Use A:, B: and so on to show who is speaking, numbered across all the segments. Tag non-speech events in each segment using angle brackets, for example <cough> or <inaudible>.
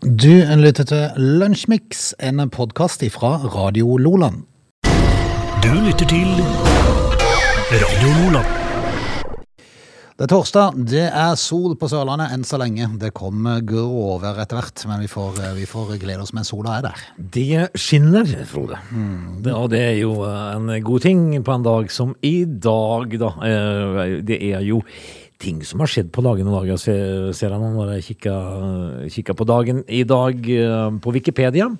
A: Du lytter til Lunsjmix, en podkast fra Radio Loland.
B: Du lytter til Radio Nordland.
A: Det er torsdag, det er sol på Sørlandet enn så lenge. Det kommer gråvær etter hvert, men vi får, vi får glede oss mens sola er der.
C: Det skinner, Frode. Det, og det er jo eh, en god ting på en dag som i dag, da. Eh, Det er jo ting som har skjedd på dagene og dager, se- ser jeg nå når jeg kikker, kikker på dagen i dag eh, på Wikipedia.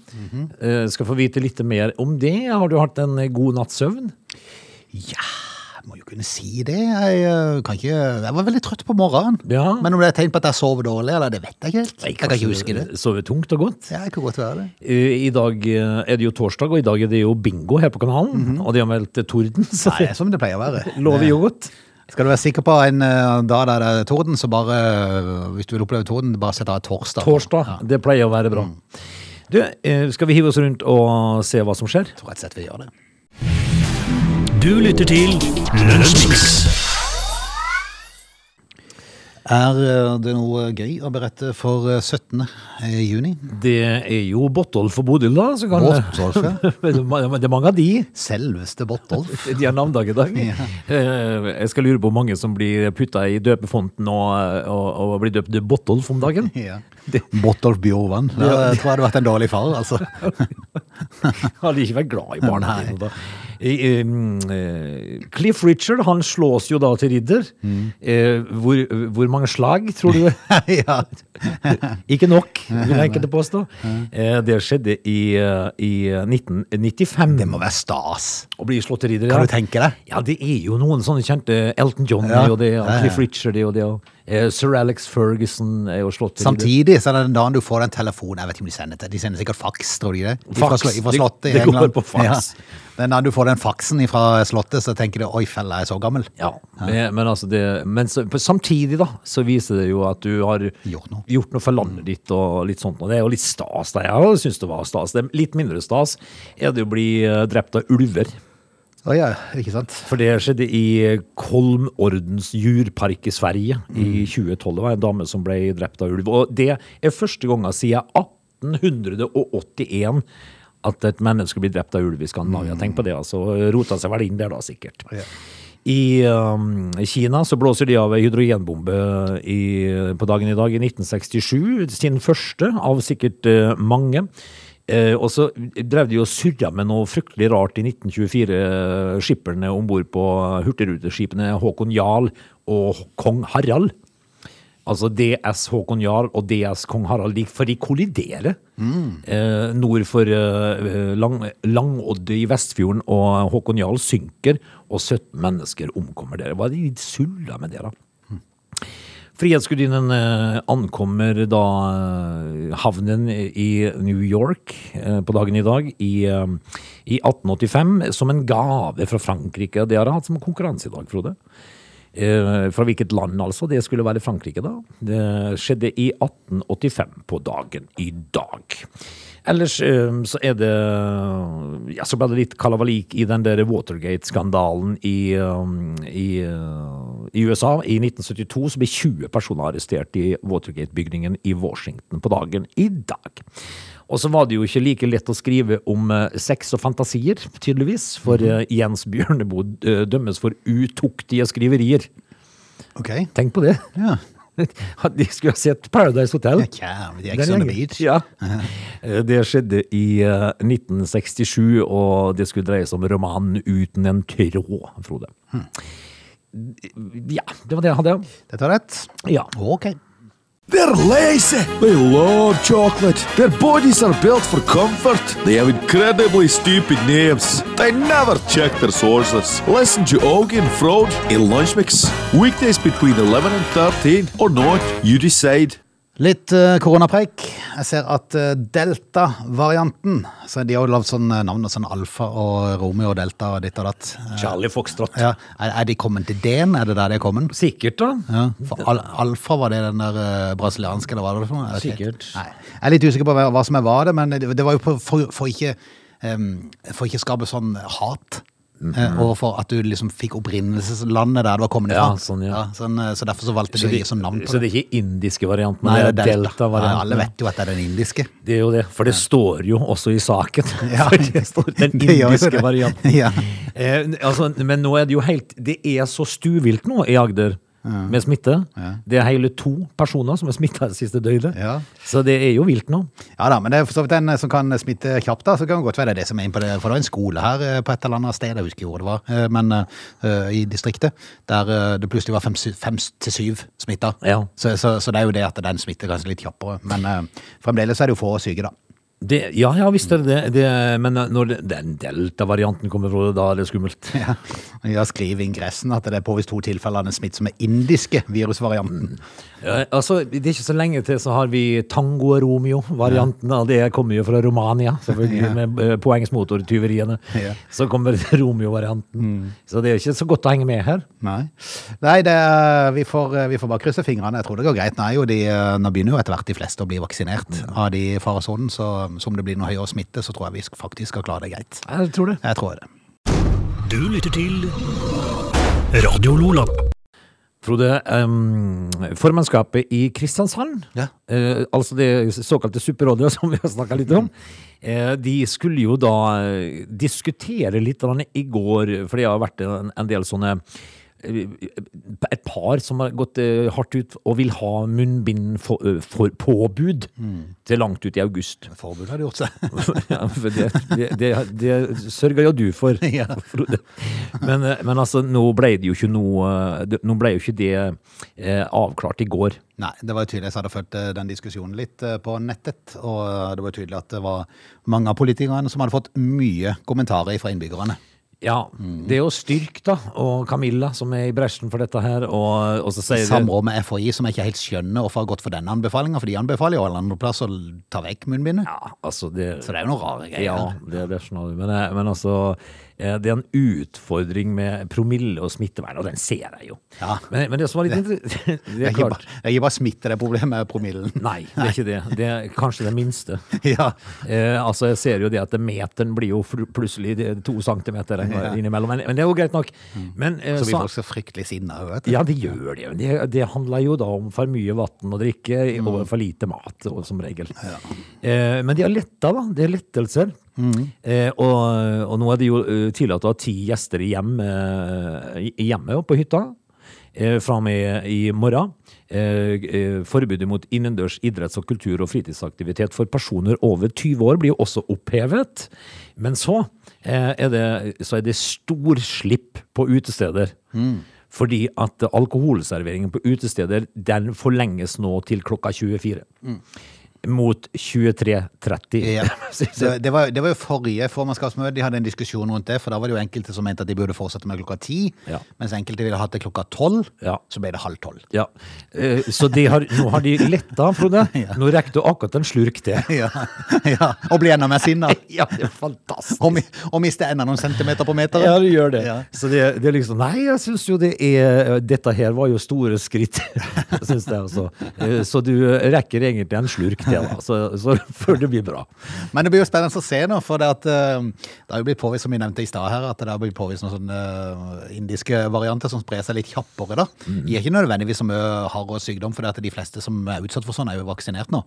C: Eh, Skal få vite litt mer om det. Har du hatt en god natts søvn?
A: Jeg må jo kunne si det. Jeg, eh, kan ikke, jeg var veldig trøtt på morgenen.
C: Ja.
A: Men om det er tegn på at jeg sover dårlig, eller det vet jeg ikke helt. Jeg kan ikke huske det.
C: Eh, Sovet tungt og godt?
A: Ja, det kan godt være det.
C: Eh, I dag eh, er det jo torsdag, og i dag er det jo bingo her på kanalen. Og de har meldt torden, så
A: Mhm. Nei, det
C: det
A: er som det pleier å være.
C: <laughs>
A: Eh,
C: lover jo godt.
A: Skal du være sikker på en eh, dag der det er torden, så bare eh, Hvis du vil oppleve torden, bare sett av torsdag.
C: Torsdag. Det pleier å være bra. Du, eh, skal vi hive oss rundt og se hva som skjer?
A: Jeg tror rett og slett vi gjør det.
B: Du lytter til Lunsjmix.
A: Er eh, det noe gøy å berette for eh, 17. juni?
C: Det er jo Bottolf og Bodil, da. Så kan
A: Bottolf, ja.
C: <laughs> Men det er ma- det er mange av de.
A: Selveste
C: <laughs>
A: Bottolf.
C: De har navnedag i dag. Eh, Jeg skal lure på hvor mange som blir putta i døpefonten og, og, og blir døpt til Bottolf om dagen.
A: Ja. Bottolf Bjorvann. Da tror jeg hadde vært en dårlig far, altså. <laughs>
C: Hadde ikke vært glad i barna dine da. Eh, eh, eh, Cliff Richard han slås jo da til ridder.
A: Mm.
C: Eh, Hvor, hvor mange slag, tror du?
A: ja.
C: <laughs> Ikke nok, vil enkelte påstå. Eh, Det skjedde i, eh, i 1995.
A: Det må være stas.
C: Å bli slått til ridder,
A: Kan du tenke deg?
C: Ja, det er jo noen sånne kjente. eh, Elton John
A: Ja.
C: er jo det, og
A: Ja, ja.
C: Cliff Richard er jo det, og eh, sir Alex Ferguson er jo slått til ridder.
A: Samtidig så er det den dagen du får den telefonen Jeg vet ikke om de sender det. De sender sikkert faks, tror de det? Ifra,
C: Fax.
A: sl- ifra
C: Det-
A: slottet i
C: det går
A: England.
C: på fax.
A: Ja. Den dagen du får den faksen fra slottet, så tenker du oi, fella, jeg er så gammel.
C: Ja, men, men altså det Men så, på- samtidig, da, så viser det jo at du har
A: Gjort noe.
C: gjort noe for landet ditt og litt sånt. Og det er jo litt stas, da. Jeg syns det var stas. Det er litt mindre stas er det å bli eh, drept av ulver.
A: Å ja, ikke sant?
C: For det skjedde i Kolmordens djurpark i Sverige i 2012. Det var en dame som ble drept av ulv. Og det er første gangen siden 1881 at et menneske blir drept av ulv i Skandinavia. Tenk på det, altså. Rota seg vel inn der da, sikkert.
A: Ja.
C: I um, Kina så blåser de av ei hydrogenbombe i, på dagen i dag i 1967. Sin første av sikkert eh, mange. Eh, og så drev de og surra med noe fryktelig rart i 1924, eh, skipperne om bord på hurtigruteskipene Håkon Jarl og kong Harald. Altså DS Håkon Jarl og DS Kong Harald, de- for de kolliderer. Eh, nord for eh, lang, Langodde i Vestfjorden, og Håkon Jarl synker, og 17 mennesker omkommer der. Hva er de sulla med det, da? Frihetsgudinnen eh, ankommer da eh, havnen i New York eh, på dagen i dag i, eh, i 1885 som en gave fra Frankrike. Det har jeg hatt som konkurranse i dag, Frode. Eh, Fra hvilket land altså? Det skulle være Frankrike da. Det skjedde i 1885 på dagen i dag. Ellers eh, så er det Ja, så ble det litt kalabalik i den der Watergate-skandalen i, eh, i, eh, i USA. I 1972 så ble 20 personer arrestert i Watergate-bygningen i Washington på dagen i dag. Og så var det jo ikke like lett å skrive om eh, sex og fantasier, tydeligvis. For eh, Jens Bjørneboe eh, dømmes for utuktige skriverier.
A: Ok.
C: Tenk på det!
A: Ja.
C: <laughs> De skulle ha sett Paradise Hotel.
A: Kjære, de er
C: Den
A: ikke sånn sånne
C: gjengen.
A: beach.
C: Ja.
A: <laughs>
C: Eh, Det skjedde i eh, 1967, og det skulle dreie seg om romanen 'Uten en tråd', Frode.
A: Hmm.
C: Ja, det var det jeg hadde.
A: Dette var rett.
C: Ja.
A: Ok.
D: They're lazy. They love chocolate. Their bodies are built for comfort. They have incredibly stupid names. They never check their sources. Listen to Augie and Frode in Lunch Mix. Weekdays between 11 and 13 or not, you decide.
A: Litt eh, koronapreik. Jeg ser at eh, delta-varianten så De har jo lagd sånn eh, navn og sånn alfa og romeo og delta og ditt og datt. Eh,
C: Charlie Foxtrot.
A: Ja. Er, er de kommet til D-en? Er det der de er kommet?
C: Sikkert, da.
A: Ja. For al alfa, var det den der eh, brasilianske, eller hva var det for noe? Jeg vet ikke.
C: Sikkert.
A: Nei. Jeg er litt usikker på hva, hva som er hva det, men det, det var jo på, for, for, ikke, em, for ikke skape sånn hat. eh, og for at du liksom fikk opprinnelseslandet der det var kommet
C: Mhm. Ja,
A: ifra.
C: sånn, ja.
A: sånn, eh, så derfor så valgte de å gi som navn på
C: så
A: det.
C: det er ikke indiske varianten,
A: Nei,
C: men det er delta-varianten.
A: Nei, alle vet jo at det er den
C: <laughs>
A: indiske.
C: Det er jo det, for det står jo også i saken.
A: Ja.
C: <laughs> For det står den
A: Det gjør jo
C: indiske
A: det.
C: varianten.
A: <laughs> Ja.
C: Eh, altså, men nå er det jo helt Det er så stuvilt nå i Agder. Med smitte. Det er hele to personer som er smitta det siste døgnet.
A: Ja.
C: Så det er jo vilt nå.
A: Ja da, men det er for så vidt den eh, som kan smitte kjapt, da, så kan det godt være det er det som er inn på det. For det var en skole her eh, på et eller annet sted, jeg husker ikke hvor det var, eh, men eh, i distriktet, der eh, det plutselig var fem, sy- fem til syv smitta.
C: Ja.
A: Så, så, så det er jo det at den smitter kanskje litt kjappere. Men eh, fremdeles er det jo få syke, da. <laughs>
C: Det, ja, ja visst er det det. det. Men eh, når det, den delta-varianten kommer, Frode, da er det skummelt.
A: Ja. Jeg skriver i ingressen at det er påvist to tilfeller av den smittsomme indiske virusvarianten.
C: Ja, altså, Det er ikke så lenge til så har vi Tango og Romeo-varianten. av Det kommer jo fra Romania, selvfølgelig, med eh, poengsmotortyveriene.
A: Ja.
C: Så kommer <laughs> Romeo-varianten. Så det er ikke så godt å henge med her.
A: Nei, Nei det, er- vi, får, eh, vi får bare krysse fingrene. Jeg tror det går greit. Nå, er jo de, eh, nå begynner jo etter hvert de fleste å bli vaksinert av de i faresonen, så som det blir noe høyere smitte, så tror jeg vi sk- faktisk skal klare det greit.
C: Jeg tror det.
A: Jeg tror det.
B: Du lytter til Radio Lola.
C: Frode, ehm, formannskapet i Kristiansand,
A: Ja.
C: eh, altså det såkalte superrådet <laughs> som vi har snakka litt om, eh, de skulle jo da eh, diskutere litt grann i går, for det har vært en, en del sånne eh, et par som har gått eh, hardt ut og vil ha munnbind for, eh, for påbud til langt ut i august.
A: Forbudet hadde gjort seg.
C: Ja, for det, det, det, det sørger jo du
A: <laughs>
C: for, Frode. Men, eh, men altså, nå ble det jo ikke noe eh, det- Nå ble jo ikke det eh, avklart i går.
A: <laughs> Nei, det var jo tydelig. Jeg hadde fulgt eh, den diskusjonen litt eh, på nettet, og eh, det var tydelig at det var mange av politikerne som hadde fått mye kommentarer fra innbyggerne.
C: Ja,
A: Mm.
C: Det er jo Styrk da, og Camilla som er i bresjen for dette her. Og, og så sier de-
A: Samråd med FHI, som jeg ikke helt skjønner hvorfor har gått for denne anbefalinga, for de anbefaler jo alle andre plasser å ta vekk munnbindet.
C: Ja, altså det,
A: Så det er jo noen rare greier.
C: Ja, det, det skjønner du. Men, eh, men altså, eh, det er en utfordring med promille og smittevern, og den ser jeg jo.
A: Ja.
C: Men, men det som var litt interessant <laughs> Det
A: Det
C: er
A: er ikke
C: klart.
A: bare, det er ikke bare smitte, det er problemet med promillen.
C: Nei, det er ikke det. Det er kanskje det minste. <laughs>
A: Ja.
C: Eh, altså, jeg ser jo det at meteren blir jo fl- plutselig det- to centimeter en-
A: Ja. Mm.
C: innimellom, men, men det er jo greit nok. Men, eh,
A: Så blir
C: så-
A: folk så fryktelig sinna òg, vet du.
C: ja, det gjør det. jo. Det, det handler jo da om for mye vann å drikke
A: Mm.
C: og for lite mat, og, som regel. Eh, men de har letta, da. Det er lettelser.
A: Mm.
C: Eh, og, og nå er det jo eh, tillatt å ha ti gjester i hjem, eh, i- i hjemmet og på hytta. Eh, fra og med i morgen. Eh, eh, forbudet mot innendørs idretts- og kultur- og fritidsaktivitet for personer over 20 år blir jo også opphevet. Men så, eh, er, det, så er det storslipp på utesteder. Fordi at alkoholserveringen på utesteder den forlenges nå til klokka 24. Mot 23.30.
A: Ja.
C: Så-
A: Det, det, var, det var jo forrige formannskapsmøte, de hadde en diskusjon rundt det. For da var det jo enkelte som mente at de burde fortsette med klokka ti,
C: Ja.
A: mens enkelte ville hatt det klokka tolv.
C: Ja.
A: Så ble det halv tolv.
C: <laughs>
A: <laughs>
C: Ja, eh, så de har, nå har de letta, <laughs> Frode. Nå rekker du akkurat en slurk til.
A: Ja. ja. Og bli enda mer sinna.
C: <laughs> Ja, det er fantastisk.
A: Og, mi, og miste enda noen centimeter på meteren.
C: Ja, du gjør det.
A: Ja.
C: Så det, det er liksom Nei, jeg syns jo det er Dette her var jo store skritt, <laughs> syns jeg altså. Eh, Så du rekker egentlig en slurk til, da. Så, så før det blir bra.
A: Men det blir jo spennende å se nå, for det, at, eh, det har jo blitt påvist, som vi nevnte i stad her, at det har blitt påvist noen sånne eh, indiske varianter som sprer seg litt kjappere. da. De er ikke nødvendigvis så mye hard og sykdom, for det at de fleste som er utsatt for sånn, er jo vaksinert nå.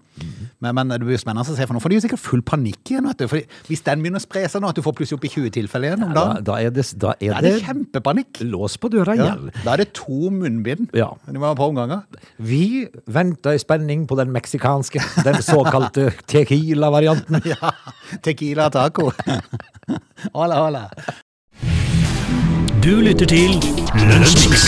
A: Men, men det blir jo spennende å se, for nå får de jo sikkert full panikk igjen. vet du. For hvis den begynner å spre seg nå, at du får plutselig opp i 20 tilfeller igjen om
C: Da,
A: dagen,
C: da er det, da
A: da
C: er
A: er
C: det
A: det kjempepanikk.
C: lås på døra
A: Ja.
C: igjen.
A: Da er det to munnbind.
C: Ja.
A: De må ha på omganger. <laughs>
C: Vi venter i spenning på den meksikanske, den såkalte tequila-varianten.
A: Ja. Tequila taco. <laughs> Hola, hola.
B: Du lytter til Lunsjmix.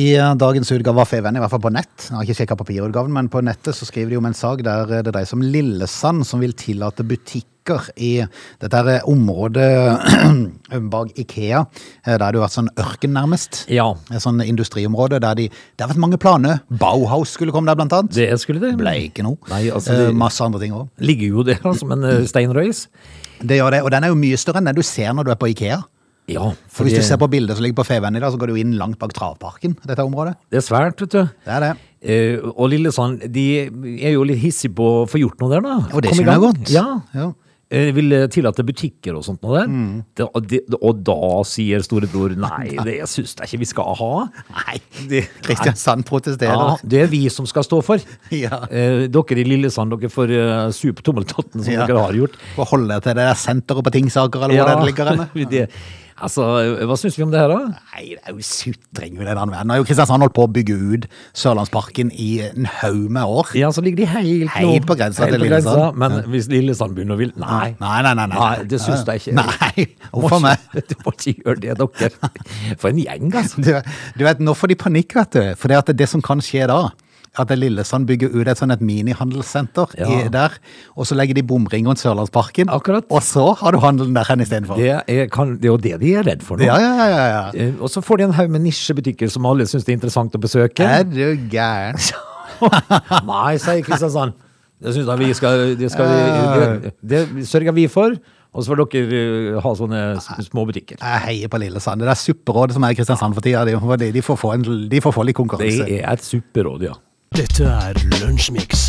A: I eh, dagens utgave av Feven, i hvert fall på nett, jeg har ikke sjekket papirutgaven, men på nettet så skriver de om en sak der eh, det dreier seg om Lillesand som vil tillate butikker i dette her eh, området <clears throat> bak Ikea, eh, der det har vært sånn ørken nærmest.
C: Ja.
A: Et sånn industriområde der de, det har vært mange planer. Bauhaus skulle komme der blant annet.
C: Det skulle det.
A: ble ikke noe.
C: Nei, altså, det-
A: Eh, Masse andre ting også.
C: Ligger jo der som en eh, steinrøys.
A: Det gjør det, og den er jo mye større enn den du ser når du er på Ikea.
C: Ja,
A: For hvis
C: det-
A: du ser på bildet som ligger på Feven i dag, så går du jo inn langt bak travparken, dette området.
C: Det er svært, vet du.
A: Det er det.
C: Eh, og Lillesand, de er jo litt hissige på å få gjort noe der, da.
A: Og det
C: Kom i
A: skjønner jeg
C: gang.
A: godt.
C: Ja.
A: Ja. Mm.
C: eh, vil tillate butikker og sånt noe der. Det, og det, og da sier
A: <laughs>
C: storebror nei, det syns jeg ikke vi skal ha.
A: Nei, Kristiansand
C: Ja,
A: protesterer.
C: det er vi som skal stå for.
A: Ja.
C: Eh, dere i Lillesand, dere får eh, supe tommeltotten som
A: Ja.
C: dere har gjort.
A: Få holde til det der senteret på Tingsaker, eller hvor det ligger
C: <laughs>
A: henne.
C: det, altså, hva syns vi om det her, da?
A: Nei, det er jo sutring med den andre verden. Nå har jo Kristiansand holdt på å bygge ut Sørlandsparken i en haug med år.
C: Ja, så ligger de helt, nå-
A: Helt på grensa
C: helt
A: til
C: på grensa,
A: Lillesand.
C: Men hvis Lillesand begynner å ville Nei.
A: Nei, nei, nei. nei.
C: Nei, det syns jeg ikke.
A: Nei,
C: Må
A: hvorfor meg?
C: ikke- <laughs> Du må ikke gjøre det,
A: <laughs>
C: dere. For en gjeng, altså.
A: <laughs> Du, du vet, nå får de panikk, vet du. For det, at det som kan skje da, er at Lillesand bygger ut et sånn et minihandelssenter
C: Ja.
A: i- der, og så legger de bomring rundt Sørlandsparken,
C: Akkurat.
A: og så har du handelen der hen istedenfor.
C: Det er, kan, det er jo det de er redd for nå.
A: Ja, ja, ja, ja, ja.
C: Eh, Og så får de en haug med nisjebutikker som alle syns det er interessant å besøke.
A: Er du gæren?
C: <laughs>
A: <laughs>
C: Nei, sier Kristiansand. Det syns jeg vi skal, det, skal vi, det, det sørger vi for. Og så får dere eh, ha sånne s- små butikker.
A: Jeg heier på Lillesand. Det der supperådet som er i Kristiansand for tida, de, får- de, de, får få en, de får få litt
C: Det
A: konkurranse.
C: er et supperåd, ja.
B: Dette er Lunsjmix.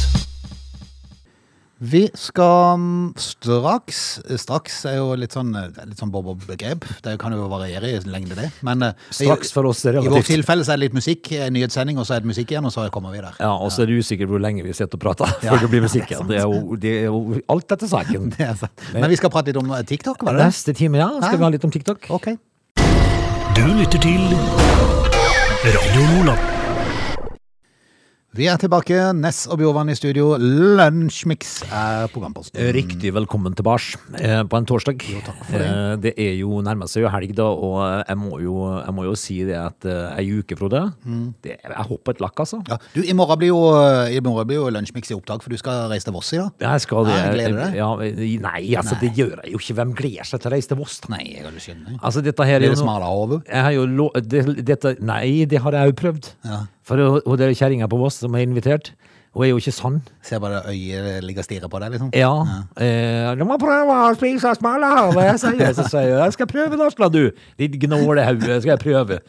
A: Vi skal mm, straks Straks er jo litt sånn, eh, litt sånn bob-bob-begrep. Det kan jo variere i lengde, det. Men eh,
C: Straks for oss
A: i,
C: er
A: i vårt
C: relativt.
A: tilfelle så er det litt musikk, en nyhetssending, og så er det musikk igjen, og så kommer vi der.
C: Ja, Og så er det usikkert hvor lenge vi sitter og prater før det blir musikk igjen. Det er jo, det er jo alt etter
A: <laughs>
C: saken.
A: <laughs> Det er sant. Men vi skal prate litt om eh, TikTok, var det det?
C: Neste time, ja. Skal vi ha litt om TikTok?
A: Ok.
B: Du lytter til Radio Lola.
A: Vi er tilbake. Ness og Bjorvann i studio. Lunsjmix er programposten.
C: Eh, Riktig velkommen tilbake eh, på en torsdag. Eh, Det er jo nærmer seg jo helg, da, og eh, jeg må jo, jeg må jo si det at eh, ei uke, Frode det, Jeg hopper et lakk, altså.
A: Ja. Du, i morgen blir jo, eh, i morgen blir jo Lunsjmix i opptak, for du skal reise til Voss i dag.
C: Jeg skal det.
A: Nei, gleder du deg?
C: Ja, nei, altså, det gjør jeg jo ikke. Hvem gleder seg til å reise til Voss? da?
A: Nei, jeg kan ikke skjønne.
C: Altså, dette her er
A: Blir
C: jo
A: det
C: noe-
A: smala over?
C: Jeg har jo lo det, dette, Nei, det har jeg jo prøvd.
A: Ja.
C: For hun- hun der kjerringa på Voss som er invitert, hun er jo ikke sann.
A: Ser bare øyet ligger og stirrer på deg, liksom.
C: Ja. Eh, du må prøve å spise smalahove, jeg sier. Så sier jeg jeg skal prøve Nasla, du. Ditt gnålehauge, skal jeg prøve.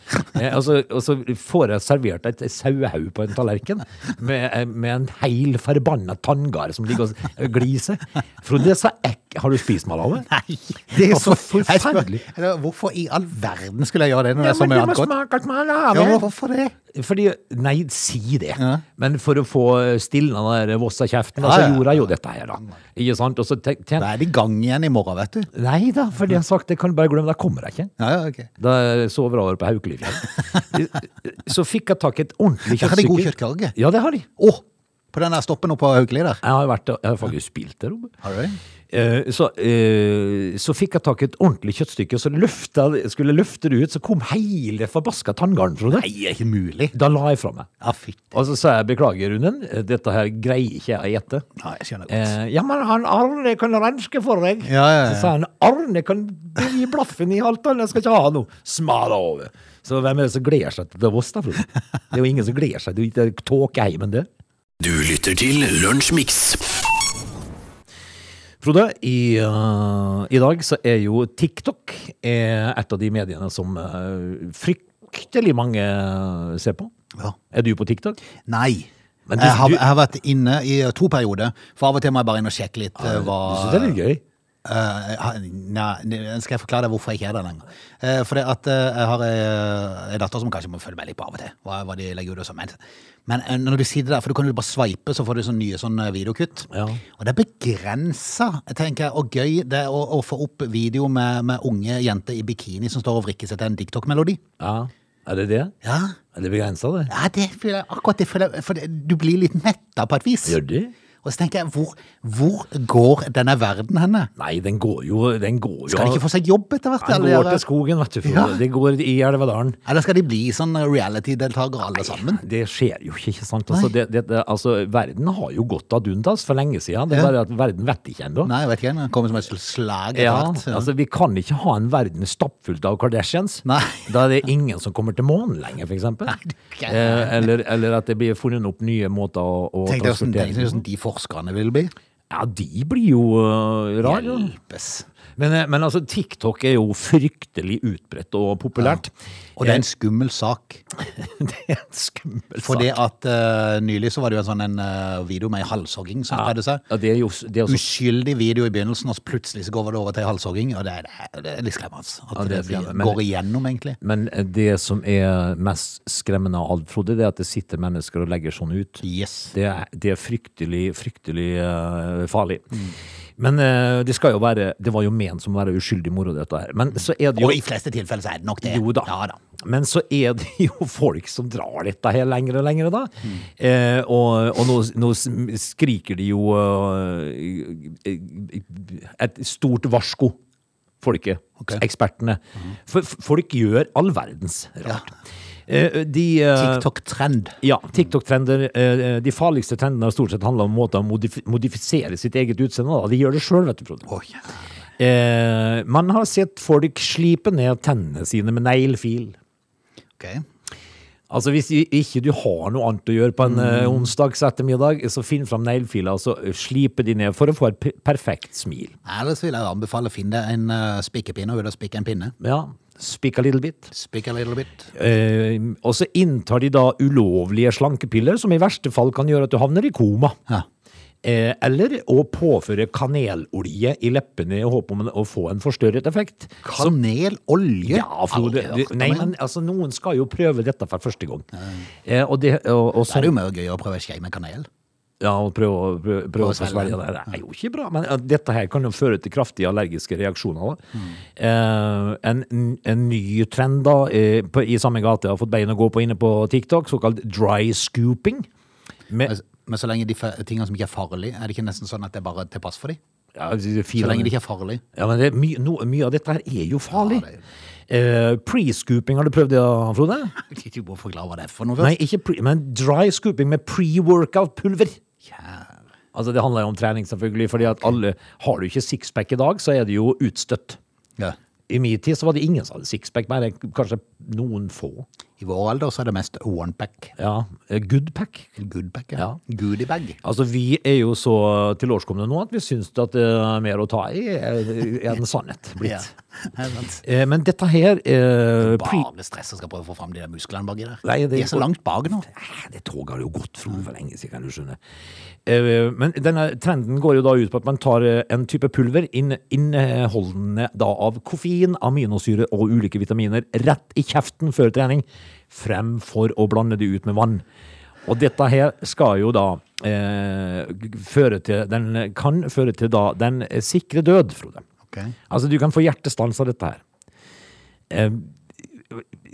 C: Eh, og, så, og så får jeg servert et sauehau på en tallerken med, eh, med en heil forbanna tanngard som ligger og s- gliser. Frode, så ek har du spist smalahove?
A: <laughs> Nei!
C: Det er så
A: Hvorfor- jeg spør-
C: forferdelig.
A: Eller, Hvorfor i all verden skulle jeg gjøre det når det
C: Ja,
A: er så
C: men
A: mye
C: du må
A: annet godt?
C: smake
A: Ja, men
C: smalahove.
A: hvorfor det?
C: Fordi, nei, si det.
A: Ja.
C: Men for å få stilna den der Vossa-kjeften,
A: Ja,
C: så
A: ja.
C: gjorde jeg jo dette her, da. Ikke sant? Og så tenk, tenk,
A: Da er det i gang igjen i morgen, vet du.
C: nei da, for det jeg har sagt, det kan du bare glemme, da kommer jeg ikke.
A: Ja, ja, ok.
C: Da sover jeg over på
A: <laughs>
C: Haukelivfjell. så fikk jeg tak i et ordentlig
A: Der har de god
C: kjøttstykke.
A: kjøttkake.
C: Ja, det har de.
A: Å! På den der stoppen oppe på Haukeli der.
C: Jeg har, vært, jeg har faktisk spilt der oppe.
A: Har du det?
C: Eh, Så, eh, så fikk jeg tak i et ordentlig kjøttstykke, og så løfta, skulle jeg løfte det ut, så kom hele forbaska tanngarden, Frode.
A: Nei, det er ikke mulig.
C: Da la jeg fra meg.
A: Ja, fytti.
C: Og så sa jeg beklager, Runden, dette her greier ikke jeg å gjette.
A: Nei, jeg skjønner godt.
C: Eh, ja, men han Arne kan renske for deg.
A: Ja, ja, ja.
C: Så sa han Arne kan gi blaffen i Halvdan, jeg skal ikke ha noe. Smala over. Så hvem er det som gleder seg til Voss, da, Frode? Det er jo ingen som gleder seg til å tåke hjem enn det.
B: Du lytter til Lunsjmix.
C: Frode, i, eh, i dag så er jo TikTok eh, et av de mediene som eh, fryktelig mange eh, ser på.
A: Ja.
C: Er du på TikTok?
A: Nei.
C: Men du-
A: jeg, har,
C: du-
A: jeg har vært inne i to perioder, for av og til må jeg bare inn og sjekke litt eh, hva
C: Du synes det er litt gøy?
A: Eh, ha- nei, ne- skal jeg forklare deg hvorfor jeg ikke er der lenger. Eh, fordi at eh, jeg har eh, en datter som kanskje må følge meg litt på av og til. Hva, hva de legger ut og sånn. Men, men eh, når du sitter der, for du kan jo bare sveipe, så får du sånne nye sånne videokutt.
C: Ja.
A: Og det er begrensa, tenker jeg, og gøy det er å, å få opp video med, med unge jenter i bikini som står og vrikker seg til en TikTok-melodi.
C: Ja. Er det det?
A: Ja.
C: Er det begrensa, det?
A: ja, det føler jeg akkurat det føler jeg. For det, du blir litt metta på et vis.
C: Gjør det?
A: Og så tenker jeg, hvor, hvor går denne verden henne?
C: Nei, den går jo, den går jo
A: Skal de ikke få seg jobb etter hvert?
C: Den
A: alle
C: går
A: dere?
C: til skogen, vet du. Frode.
A: Ja.
C: Det går i Elvedalen.
A: Eller skal de bli sånn reality-deltakere alle sammen?
C: Det skjer jo ikke, ikke sant? Altså,
A: Nei.
C: det, det, det, altså, verden har jo gått ad undas for lenge siden. Det er
A: Ja.
C: bare at verden vet ikke ennå.
A: Nei, jeg vet ikke. Det kommer som et sl- slag etter
C: Ja,
A: hvert. Ja.
C: altså, vi kan ikke ha en verden stappfullt av Kardashians.
A: Nei.
C: <laughs> Da er det ingen som kommer til månen lenger, for eksempel.
A: gæren.
C: Eh, eller, eller at det blir funnet opp nye måter å, å
A: Tenk deg hvordan-
C: transportere
A: tenk deg hvordan de forskerne vil bli.
C: Ja, de blir jo uh, rare.
A: Hjelpes.
C: Men, eh, men altså, TikTok er jo fryktelig utbredt og populært. Eh,
A: Og det er en skummel sak.
C: <laughs> det er en skummel sak.
A: Fordi at eh, nylig så var det jo en sånn en, eh, video med halshogging som
C: ja,
A: spredde seg.
C: ja, det er jo s- det er også,
A: Uskyldig video i begynnelsen, og så plutselig så går det over til halshogging. Og det er, det er- det er litt skremmende. altså. At
C: Ja, det
A: det,
C: er skremmende,
A: blir-
C: men-
A: går igjennom, egentlig.
C: men eh, det som er mest skremmende av alt, Frode, det er at det sitter mennesker og legger sånn ut.
A: Yes.
C: Det er, det er fryktelig, fryktelig eh, farlig.
A: Mm.
C: Men eh, det skal jo være Det var jo ment som å være uskyldig moro, dette her. Men så er det jo
A: Og i fleste tilfeller så er det nok det.
C: Jo da.
A: Ja, da.
C: Men så er det jo folk som drar dette her lenger og lenger, da. Eh, og og nå, nå skriker de jo eh, et stort varsko, folket.
A: Ok.
C: Ekspertene. For for folk gjør all verdens rart. Eh, de eh,
A: TikTok-trend.
C: ja, TikTok-trender. eh, De farligste trendene har stort sett handla om måter å modif modifisere sitt eget utseende på. De gjør det sjøl, vet du, Frode.
A: Oi.
C: Eh, man har sett folk slipe ned tennene sine med neglefil.
A: Ok.
C: Altså Hvis i- ikke du har noe annet å gjøre på en eh,
A: Mm.
C: onsdags ettermiddag, så finn fram neglefiler og så eh, slipe de ned for å få et per- perfekt smil.
A: Ellers vil jeg anbefale å finne en uh, spikkepinne og ut og spikke en pinne.
C: Ja, Speak a little bit.
A: Spikk a little bit.
C: Eh, og så inntar de da ulovlige slankepiller, som i verste fall kan gjøre at du havner i koma.
A: Ja.
C: Eh, eller å påføre kanelolje i leppene i håp om en- å få en forstørret effekt.
A: Kanelolje?
C: Ja, Frode.
A: Aldri hørt om
C: Nei,
A: det.
C: men altså, noen skal jo prøve dette for første gang. Eh, og det, og, og
A: Så er det
C: så,
A: jo mye gøy å prøve skje med kanel.
C: ja, og prøve, å- prøve, prøve
A: å
C: å
A: svelge.
C: forsvelge det. Det er jo ikke bra, men eh, dette her kan jo føre til kraftige allergiske reaksjoner. Da. Eh, en, en ny trend da, eh, på, i samme gate har fått bein å gå på inne på TikTok, såkalt dry scooping. Med,
A: Men- Men så lenge de fe- tingene som ikke er farlige, er det ikke nesten sånn at det er bare til pass for dem?
C: ja,
A: Så lenge de ikke er farlige. <laughs>
C: Ja, men det er my no, mye av dette her er jo farlig.
A: Ja, det er jo-
C: Eh, pre-scooping, har du prøvd det, Frode?
A: Du må forklare hva det er for noe
C: Nei,
A: først.
C: ikke pre, men dry scooping med pre-workout-pulver.
A: Kjære.
C: Altså, det handler jo om trening, selvfølgelig, fordi at alle Har du ikke sixpack i dag, så er det jo utstøtt.
A: Ja.
C: I min tid så var det ingen som hadde sixpack, bare kanskje noen få.
A: I vår alder så er det mest onepack.
C: Ja, eh, Goodpack.
A: Goodpack,
C: Ja.
A: ja. Goodiebag.
C: Altså, vi er jo så tilårskomne nå at vi syns at eh, mer å ta i er, er en <laughs> sannhet blitt.
A: Ja. <laughs> Det er sant.
C: Eh, men dette her eh, pre
A: Bare stress og skal prøve å få fram de der musklene baki der.
C: Nei, det-
A: De er så langt bak nå.
C: Nei, Det toget har jo gått Frode, for lenge siden, kan du skjønne. Eh, Men denne trenden går jo da ut på at man tar eh, en type pulver inn- inneholdende da av koffein, aminosyre og ulike vitaminer rett i kjeften før trening, fremfor å blande det ut med vann. Og dette her skal jo da eh, g- føre til Den kan føre til da den eh, sikre død, Frode.
A: Ok.
C: Altså, du kan få hjertestans av dette her. Eh,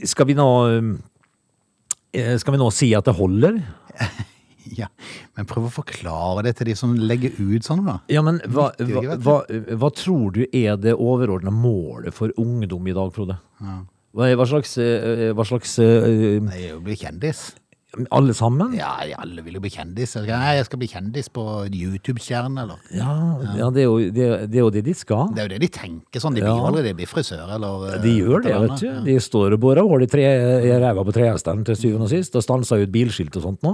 C: skal vi nå eh, Skal vi nå si at det holder?
A: <laughs> Ja. Men prøv å forklare det til de som legger ut sånn, da.
C: Ja, men hva,
A: Nyttig,
C: hva,
A: vet du.
C: hva, hva tror du er det overordna målet for ungdom i dag, Frode? Hva, hva slags, eh, hva slags eh,
A: Det er jo å bli kjendis.
C: Alle sammen? Ja.
A: Ja, ja, alle vil jo bli kjendis. Jeg skal- Nei, jeg skal bli kjendis på YouTube-stjernen, eller
C: Ja, det, er jo, det, det er jo det de skal.
A: Det er jo det de tenker sånn. De blir
C: Ja.
A: aldri de blir frisør, eller eh,
C: De gjør det,
A: et eller
C: vet du.
A: annet.
C: De står og borer hull i tre- i ræva på trehestene til syvende og sist, og stanser ut bilskilt og sånt nå.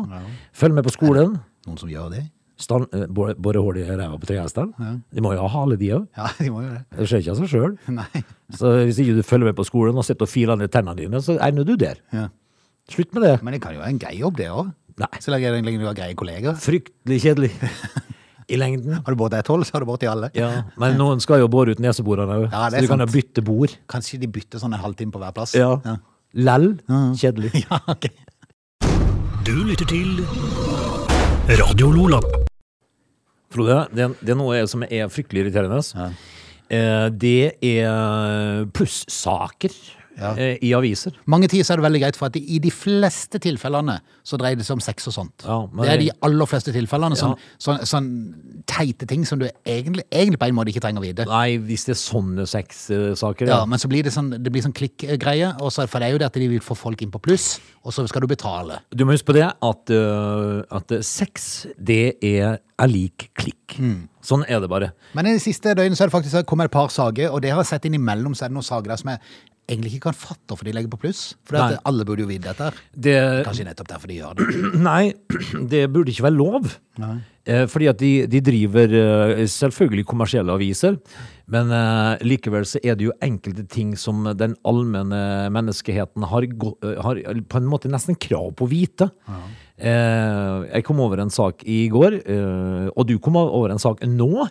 C: Følg med på skolen.
A: Noen som gjør det? <laughs>
C: Stand, eh, bore bore hull i ræva på trehestene. De må jo ha hale, de òg.
A: Ja, de må jo det. <laughs>
C: Det skjer ikke av seg sjøl.
A: Nei.
C: Så hvis ikke du følger med på skolen og sitter og filer ned tennene dine, så egner du der.
A: Ja.
C: Slutt med det.
A: Men det kan jo være en grei jobb, det òg.
C: Nei.
A: Så lenge det- lenge du har greie kolleger.
C: Fryktelig kjedelig i lengden.
A: Har du båret ett hold, så har du båret i alle.
C: Ja, Men noen skal jo bore ut neseborene òg,
A: Ja,
C: så
A: det er
C: du kan jo
A: sant.
C: bytte bord.
A: Kanskje de bytter sånn en halvtime på hver plass. Ja, <laughs>
C: Lell. Kjedelig.
A: ja ok.
B: Du lytter til Radio Lola.
C: Frode, det, det er noe som er fryktelig irriterende. Eh, det er plussaker
A: Ja.
C: eh, i aviser.
A: Mange tider så er det veldig greit, for at de, i de fleste tilfellene så dreier det seg om sex og sånt.
C: Ja, men-
A: det er de aller fleste tilfellene.
C: Ja.
A: Sånn, sånn, sånn teite ting som du egentlig, egentlig på en måte ikke trenger å vite.
C: Nei, hvis det er sånne sexsaker,
A: Ja, men så blir det sånn, det blir sånn klikk-greie, og så for det er jo det at de vil få folk inn på pluss, og så skal du betale.
C: Du må huske på det at, øh, at sex, det er, er lik klikk. Sånn er det bare.
A: Men i de siste døgnet så er det faktisk det kommer et par sager, og det har jeg sett innimellom, så er det noen sager der som jeg egentlig ikke kan fatte hvorfor de legger på pluss. For det
C: Nei.
A: at alle burde jo vite dette her.
C: Det, <clears throat>
A: Kanskje nettopp derfor de gjør det.
C: nei, det burde ikke være lov. Eh, Fordi at de, de driver eh, selvfølgelig kommersielle aviser, men eh, likevel så er det jo enkelte ting som den allmenne menneskeheten har, gå- eh, har på en måte nesten krav på å vite. Eh, Jeg kom over en sak i går, eh, og du kom over en sak nå.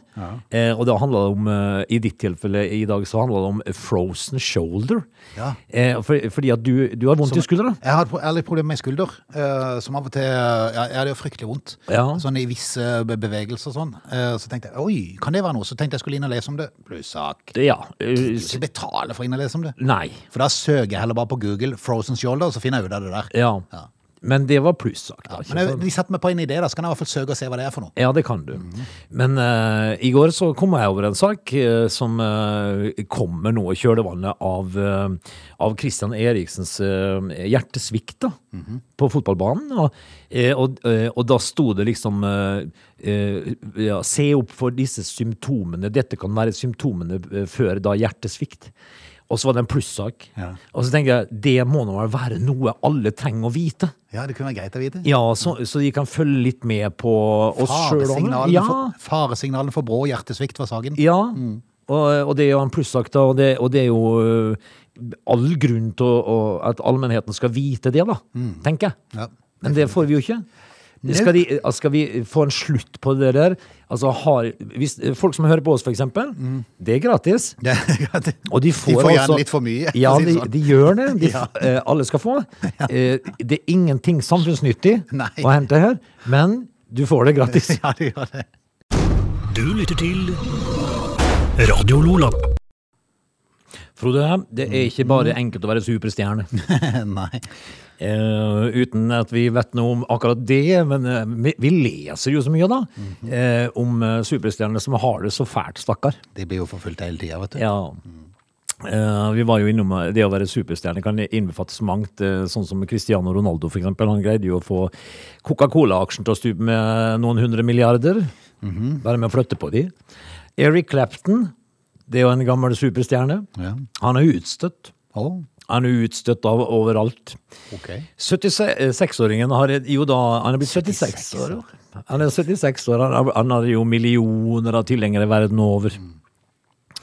C: eh, Og det handla om, eh, i ditt tilfelle i dag, så handla det om frozen shoulder.
A: Ja.
C: Eh, for- Fordi at du, du har vondt i skuldra.
A: Jeg har et pro- jeg har litt problemer med skulder, eh, som av og til ja, Jeg hadde jo fryktelig vondt.
C: Ja.
A: Sånn i visse be- bevegelser og sånn. Eh, Så tenkte jeg oi, kan det være noe? Så tenkte jeg skulle inn og lese om det. Plussak.
C: Ja. eh,
A: Ikke betale for å inn og lese om det.
C: Nei.
A: For da søker jeg heller bare på Google 'Frozen Shoulder', og så finner jeg ut av det der.
C: Ja.
A: Ja.
C: Men det var plussak. da, ikke
A: Men jeg,
C: sant?
A: de setter meg på en idé, da. Så kan jeg i hvert fall søke og se hva det er for noe.
C: Ja, det kan du.
A: Mhm.
C: Men eh, i går så kom jeg over en sak eh, som eh, kommer nå i kjølvannet av, eh, av Christian Eriksens eh, hjertesvikt da,
A: Mhm.
C: på fotballbanen. Og, eh, og, eh, og da sto det liksom eh, eh, ja, Se opp for disse symptomene. Dette kan være symptomene eh, før da hjertesvikt. Og så var det en plussak.
A: Ja.
C: Og så tenker jeg det må nå være noe alle trenger å vite.
A: Ja, det kunne være greit å vite.
C: Ja, så, så de kan følge litt med på oss sjøl om det.
A: Faresignalen,
C: Ja,
A: for, Mm. faresignalen for brå hjertesvikt var saken.
C: ja. Og, og det er jo en plussak, da, og det, og det er jo ø, all grunn til å, å- at allmennheten skal vite det, da,
A: Mm.
C: tenker jeg.
A: Ja. <laughs>
C: Men det får vi jo ikke. Skal, de, eh, skal vi få en slutt på det der? Altså, har, hvis, folk som hører på oss, for eksempel, det er gratis.
A: Det, det,
C: Og de får,
A: Mm. gjerne
C: altså-
A: litt for mye. <laughs> for
C: Ja,
A: å si
C: de,
A: det sånn.
C: de gjør det.
A: <laughs>
C: De, eh, alle skal få. Eh, det er ingenting samfunnsnyttig
A: Nei.
C: å hente her, men du får det gratis.
A: <laughs> ja, de gjør det.
B: Du lytter til Radio Lola.
C: Frode, det er ikke bare enkelt å være
A: <laughs>
C: superstjerne.
A: Nei.
C: Eh, uten at vi vet noe om akkurat det, men eh, vi, vi leser jo så mye da,
A: Mhm.
C: eh, om eh, superstjerner som har det så fælt, stakkar.
A: De blir jo forfulgt hele tida, vet du.
C: Ja. Eh, vi var jo innom eh, det å være superstjerne kan innbefattes mangt. eh, sånn som Cristiano Ronaldo, for eksempel. Han greide jo å få Coca-Cola-aksjen til å stupe med noen hundre milliarder. Bare med å flytte på de. Eric Clapton, det er jo en gammel superstjerne.
A: Ja.
C: Han er utstøtt.
A: Å,
C: Han er utstøtt av overalt.
A: ok.
C: 76-åringen har jo da Han er blitt 76 år. Han er 76 år, han, har- han har jo millioner av tilhengere verden over.
A: Mm.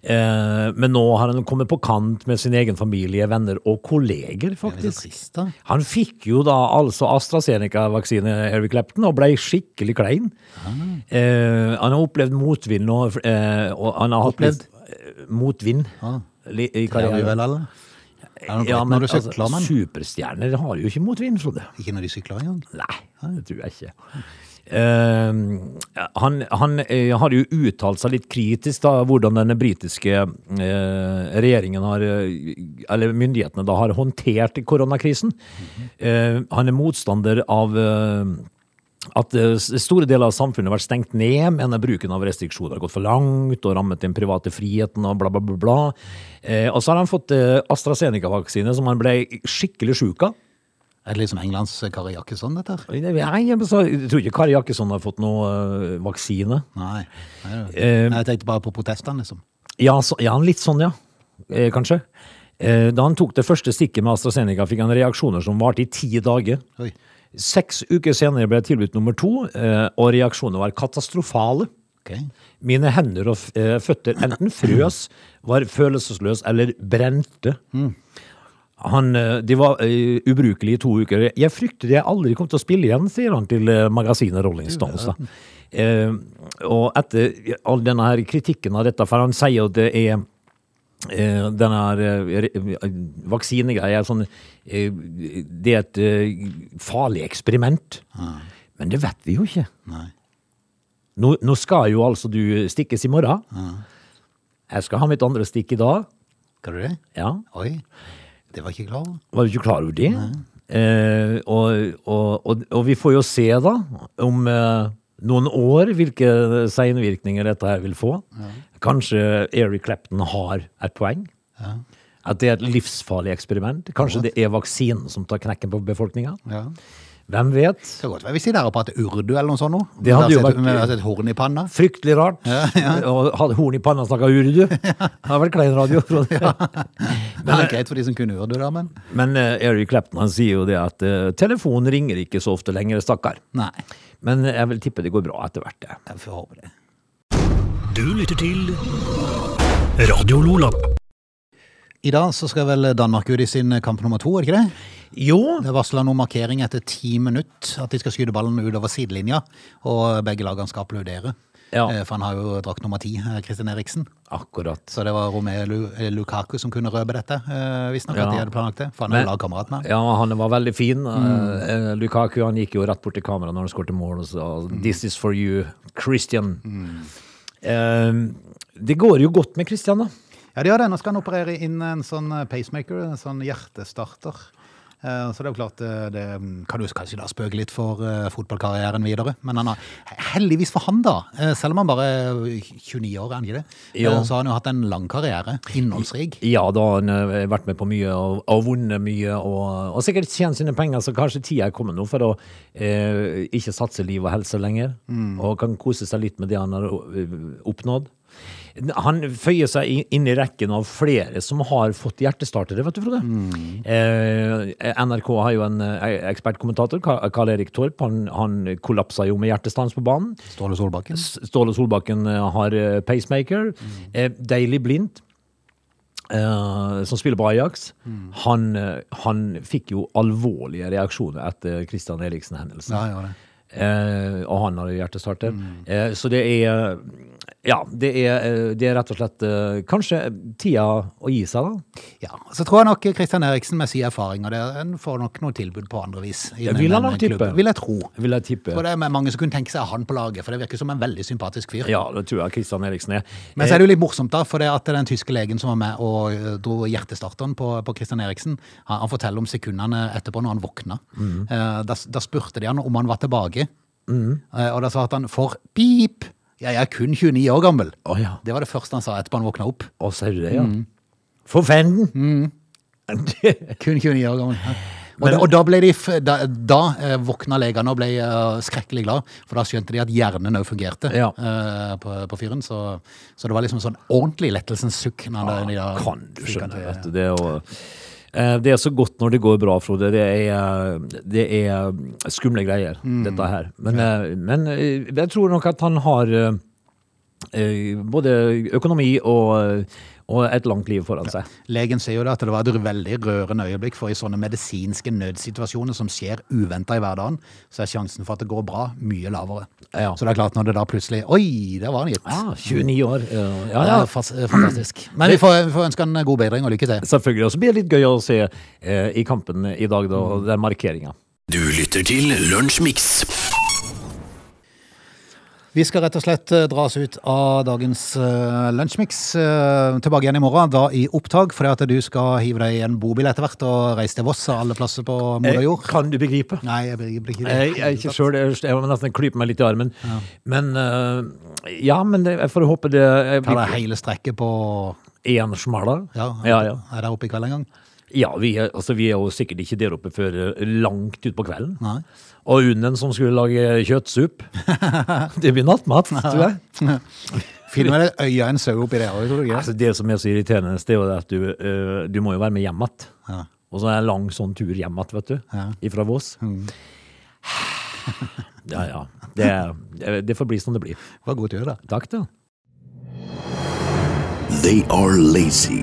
C: Eh, men nå har han kommet på kant med sin egen familie, venner og kolleger,
A: Det er så
C: faktisk.
A: trist, da.
C: Han fikk jo da altså AstraZeneca-vaksine, Eric Clapton, og ble skikkelig klein.
A: Ah.
C: Eh, han har opplevd motvind nå. Eh, og han har hatt
A: Opplevd?
C: litt- eh, motvind
A: Ah.
C: li- i
A: Det er vi
C: karrieren.
A: vel alle. Er det noe
C: Ja,
A: dritt
C: men
A: når du
C: altså,
A: sykler, men?
C: superstjerner har jo ikke motvind, Frode.
A: Ikke når de sykler engang.
C: Nei, det tror jeg ikke. Eh, han han eh, har jo uttalt seg litt kritisk da, hvordan denne britiske eh, regjeringen har, eh, eller myndighetene da, har håndtert koronakrisen. Eh, han er motstander av eh, at eh, s- store deler av samfunnet har vært stengt ned, mener bruken av restriksjoner har gått for langt og rammet den private friheten og bla, bla, bla. bla. Eh, og så har han fått eh, AstraZeneca-vaksine, som han ble skikkelig sjuk av.
A: Er det liksom Englands Kari Jakkesson, dette her?
C: Nei, jeg sa- jeg tror ikke Kari Jakkesson har fått noe eh, vaksine.
A: Nei. Nei, det
C: Eh,
A: er- Nei, jeg tenkte bare på protestene, liksom.
C: Ja, så, ja litt sånn, ja. Eh, kanskje. Eh, da han tok det første stikket med AstraZeneca, fikk han reaksjoner som varte i ti dager.
A: Oi.
C: Seks uker senere ble jeg tilbudt nummer to, eh, og reaksjonene var katastrofale.
A: Ok.
C: Mine hender og f- eh, føtter enten frøs, var følelsesløs eller brente. Han, eh, de var eh, ubrukelige i to uker. Jeg frykter jeg aldri kom til å spille igjen, sier han til eh, magasinet Rolling Stones. Da. Eh, og etter all denne her kritikken av dette, for han sier at det er eh, denne her eh, re- eh, vaksinegreia er sånn eh, Det er et eh, farlig eksperiment. Men det vet vi jo ikke.
A: Nei.
C: Nå, nå skal jo altså du stikkes i morgen. Jeg skal ha mitt andre stikk i dag.
A: Skal du det?
C: Ja,
A: Oi. Det var jeg ikke klar over.
C: Var du ikke klar over det? Eh, og, og, og, og vi får jo se da, om eh, noen år, hvilke seinvirkninger dette her vil få. Kanskje Eric Clapton har et poeng? At det er et livsfarlig eksperiment? Kanskje det er vaksinen som tar knekken på befolkninga?
A: Ja.
C: Hvem vet?
A: Det kan godt være hvis de der og prater urdu eller noe sånt nå.
C: Det
A: Der
C: hadde jo
A: sitter
C: vært-
A: vi Med et horn i panna.
C: Fryktelig rart. Og hadde horn i panna og snakka urdu. Det hadde vært klein radio. tror jeg.
A: Veldig greit for de som kunne urdu, da, men
C: Men eh, Eric Clapton han sier jo det at eh, telefonen ringer ikke så ofte lenger, stakkar.
A: nei.
C: Men eh, jeg vil tippe det går bra etter hvert. det.
A: Jeg får håpe det.
B: Du lytter til Radio Lola.
A: I dag så skal vel Danmark ut i sin kamp nummer to, er det ikke det?
C: Jo,
A: Det varsler noen markering etter ti minutter at de skal skyte ballen utover sidelinja, og begge lagene skal applaudere.
C: Ja.
A: Eh, For han har jo drakt nummer ti, eh, Christian Eriksen.
C: akkurat.
A: Så det var Romeo Lu- eh, Lukaku som kunne røpe dette, eh, visstnok.
C: Ja.
A: At de hadde planlagt det. For han er
C: Men-
A: jo lagkamerat med han.
C: Ja, han var veldig fin. Eh, eh, Lukaku han gikk jo rett bort til kameraet når han skåret mål og sa 'This is for you, Christian'. Eh, det går jo godt med Christian, da.
A: Ja, de gjør det. Nå skal han operere inn en sånn eh, pacemaker, en sånn hjertestarter. Eh, Så det er jo klart, eh, det mm, kan jo kanskje da spøke litt for eh, fotballkarrieren videre. Men han har, heldigvis for han da, eh, selv om han bare er 29 år, er han ikke det?
C: Jo.
A: Eh, Så har han jo hatt en lang karriere, innholdsrik.
C: Ja, da har han eh, vært med på mye og, og vunnet mye, og, og sikkert tjent sine penger, så kanskje tida er kommet nå for å eh, ikke satse liv og helse lenger, og kan kose seg litt med det han har eh, oppnådd. Han føyer seg i- inn i rekken av flere som har fått hjertestartere, vet du, Frode. Eh, NRK har jo en eh, ekspertkommentator, Karl Erik Torp, han, han kollapsa jo med hjertestans på banen.
A: Ståle Solbakken.
C: Ståle Solbakken eh, har eh, pacemaker.
A: Mm.
C: Eh, Daily Blind, eh, som spiller på Ajax,
A: Mm.
C: han, eh, han fikk jo alvorlige reaksjoner etter Christian Eriksen-hendelsen.
A: Ja, Mm. gjør det.
C: Eh, og han har jo hjertestarter. Eh, så det er Ja, det er, eh, det er rett og slett eh, kanskje tida å gi seg, da.
A: Ja, så tror jeg nok Kristian Eriksen med sin erfaring, og det en får nok noe tilbud på andre vis.
C: Ja, vil han nok tippe?
A: Vil jeg tro.
C: Vil jeg tippe.
A: For det er mange som kunne tenke seg han på laget, for det virker som en veldig sympatisk fyr.
C: Ja, det tror jeg Christian Eriksen er.
A: Men så er det jo litt morsomt, da, for det at den tyske legen som var med og eh, dro hjertestarteren på, på Christian Eriksen, han, han forteller om sekundene etterpå når han våkna.
C: Mm.
A: Eh, da, da spurte de han om han var tilbake,
C: Mm.
A: Eh, og da svarte han for pip! Jeg er kun 29 år gammel.
C: Eh, Å ja.
A: Det var det første han sa etterpå han våkna opp.
C: Å, ser du det, ja.
A: Mm.
C: For fanden!
A: Kun 29 år gammel. Ja. Og, da, og da ble de, f- da, da eh, våkna legene og ble eh, skrekkelig glad, for da skjønte de at hjernen òg fungerte
C: Ja.
A: eh, på, på fyren. Så, så det var liksom sånn ordentlig lettelsens sukk. når de da
C: Ah, kan du
A: fikk han
C: skjønne,
A: til-
C: vet du. Det er, jo, Eh, det er så godt når det går bra, Frode. Det er, eh, det er eh, skumle greier,
A: Mm.
C: dette her. Men, eh, men eh, jeg tror nok at han har eh, eh, både økonomi og, eh, og et langt liv foran seg.
A: Legen sier jo det at det var et veldig rørende øyeblikk, for i sånne medisinske nødsituasjoner som skjer uventa i hverdagen, så er sjansen for at det går bra, mye lavere.
C: Ja. Ah.
A: Så det er klart, når det da plutselig Oi, der var han gitt!
C: Ja, 29 år. eh, Ja,
A: Ja,
C: ja.
A: det er fas- eh, fantastisk. Men vi får, vi får ønske han god bedring og lykke til.
C: Selvfølgelig. Og så blir det litt gøy å se eh, i kampen i dag, da, den markeringa.
B: Du lytter til Lunsjmix.
A: Vi skal rett og slett eh, dras ut av dagens uh, lunsjmix. eh, tilbake igjen i morgen, da i opptak, fordi at du skal hive deg i en bobil etter hvert og reise til Voss og alle plasser på moder jord.
C: Eh, Kan du begripe?
A: Nei, jeg blir jeg blir ikke det.
C: Eh, Jeg, jeg, ikke selv, jeg, jeg må nesten klype meg litt i armen. Men eh, ja, men det, jeg får håpe det eh, jeg
A: Ta deg
C: blir
A: hele strekket på
C: én smella.
A: Ja,
C: ja, ja.
A: er der oppe i kveld en gang?
C: Ja, vi, er, altså, vi er jo sikkert ikke der oppe før eh, langt utpå kvelden.
A: Nei.
C: Og hunden som skulle lage
A: <laughs>
C: kjøttsupp. det blir nattmat, tror jeg.
A: Finner vel et øye av en sau oppi der òg, tror du ikke? det?
C: Altså, det som er så irriterende, det er jo det at du, eh, du må jo være med hjem igjen.
A: Ja.
C: Og så er det en lang sånn tur hjem igjen, vet du. Ifra Voss.
A: Mm.
C: ja, ja. Det, det får bli som det blir.
A: Det var god tur, da.
C: Takk, da.
D: They are lazy.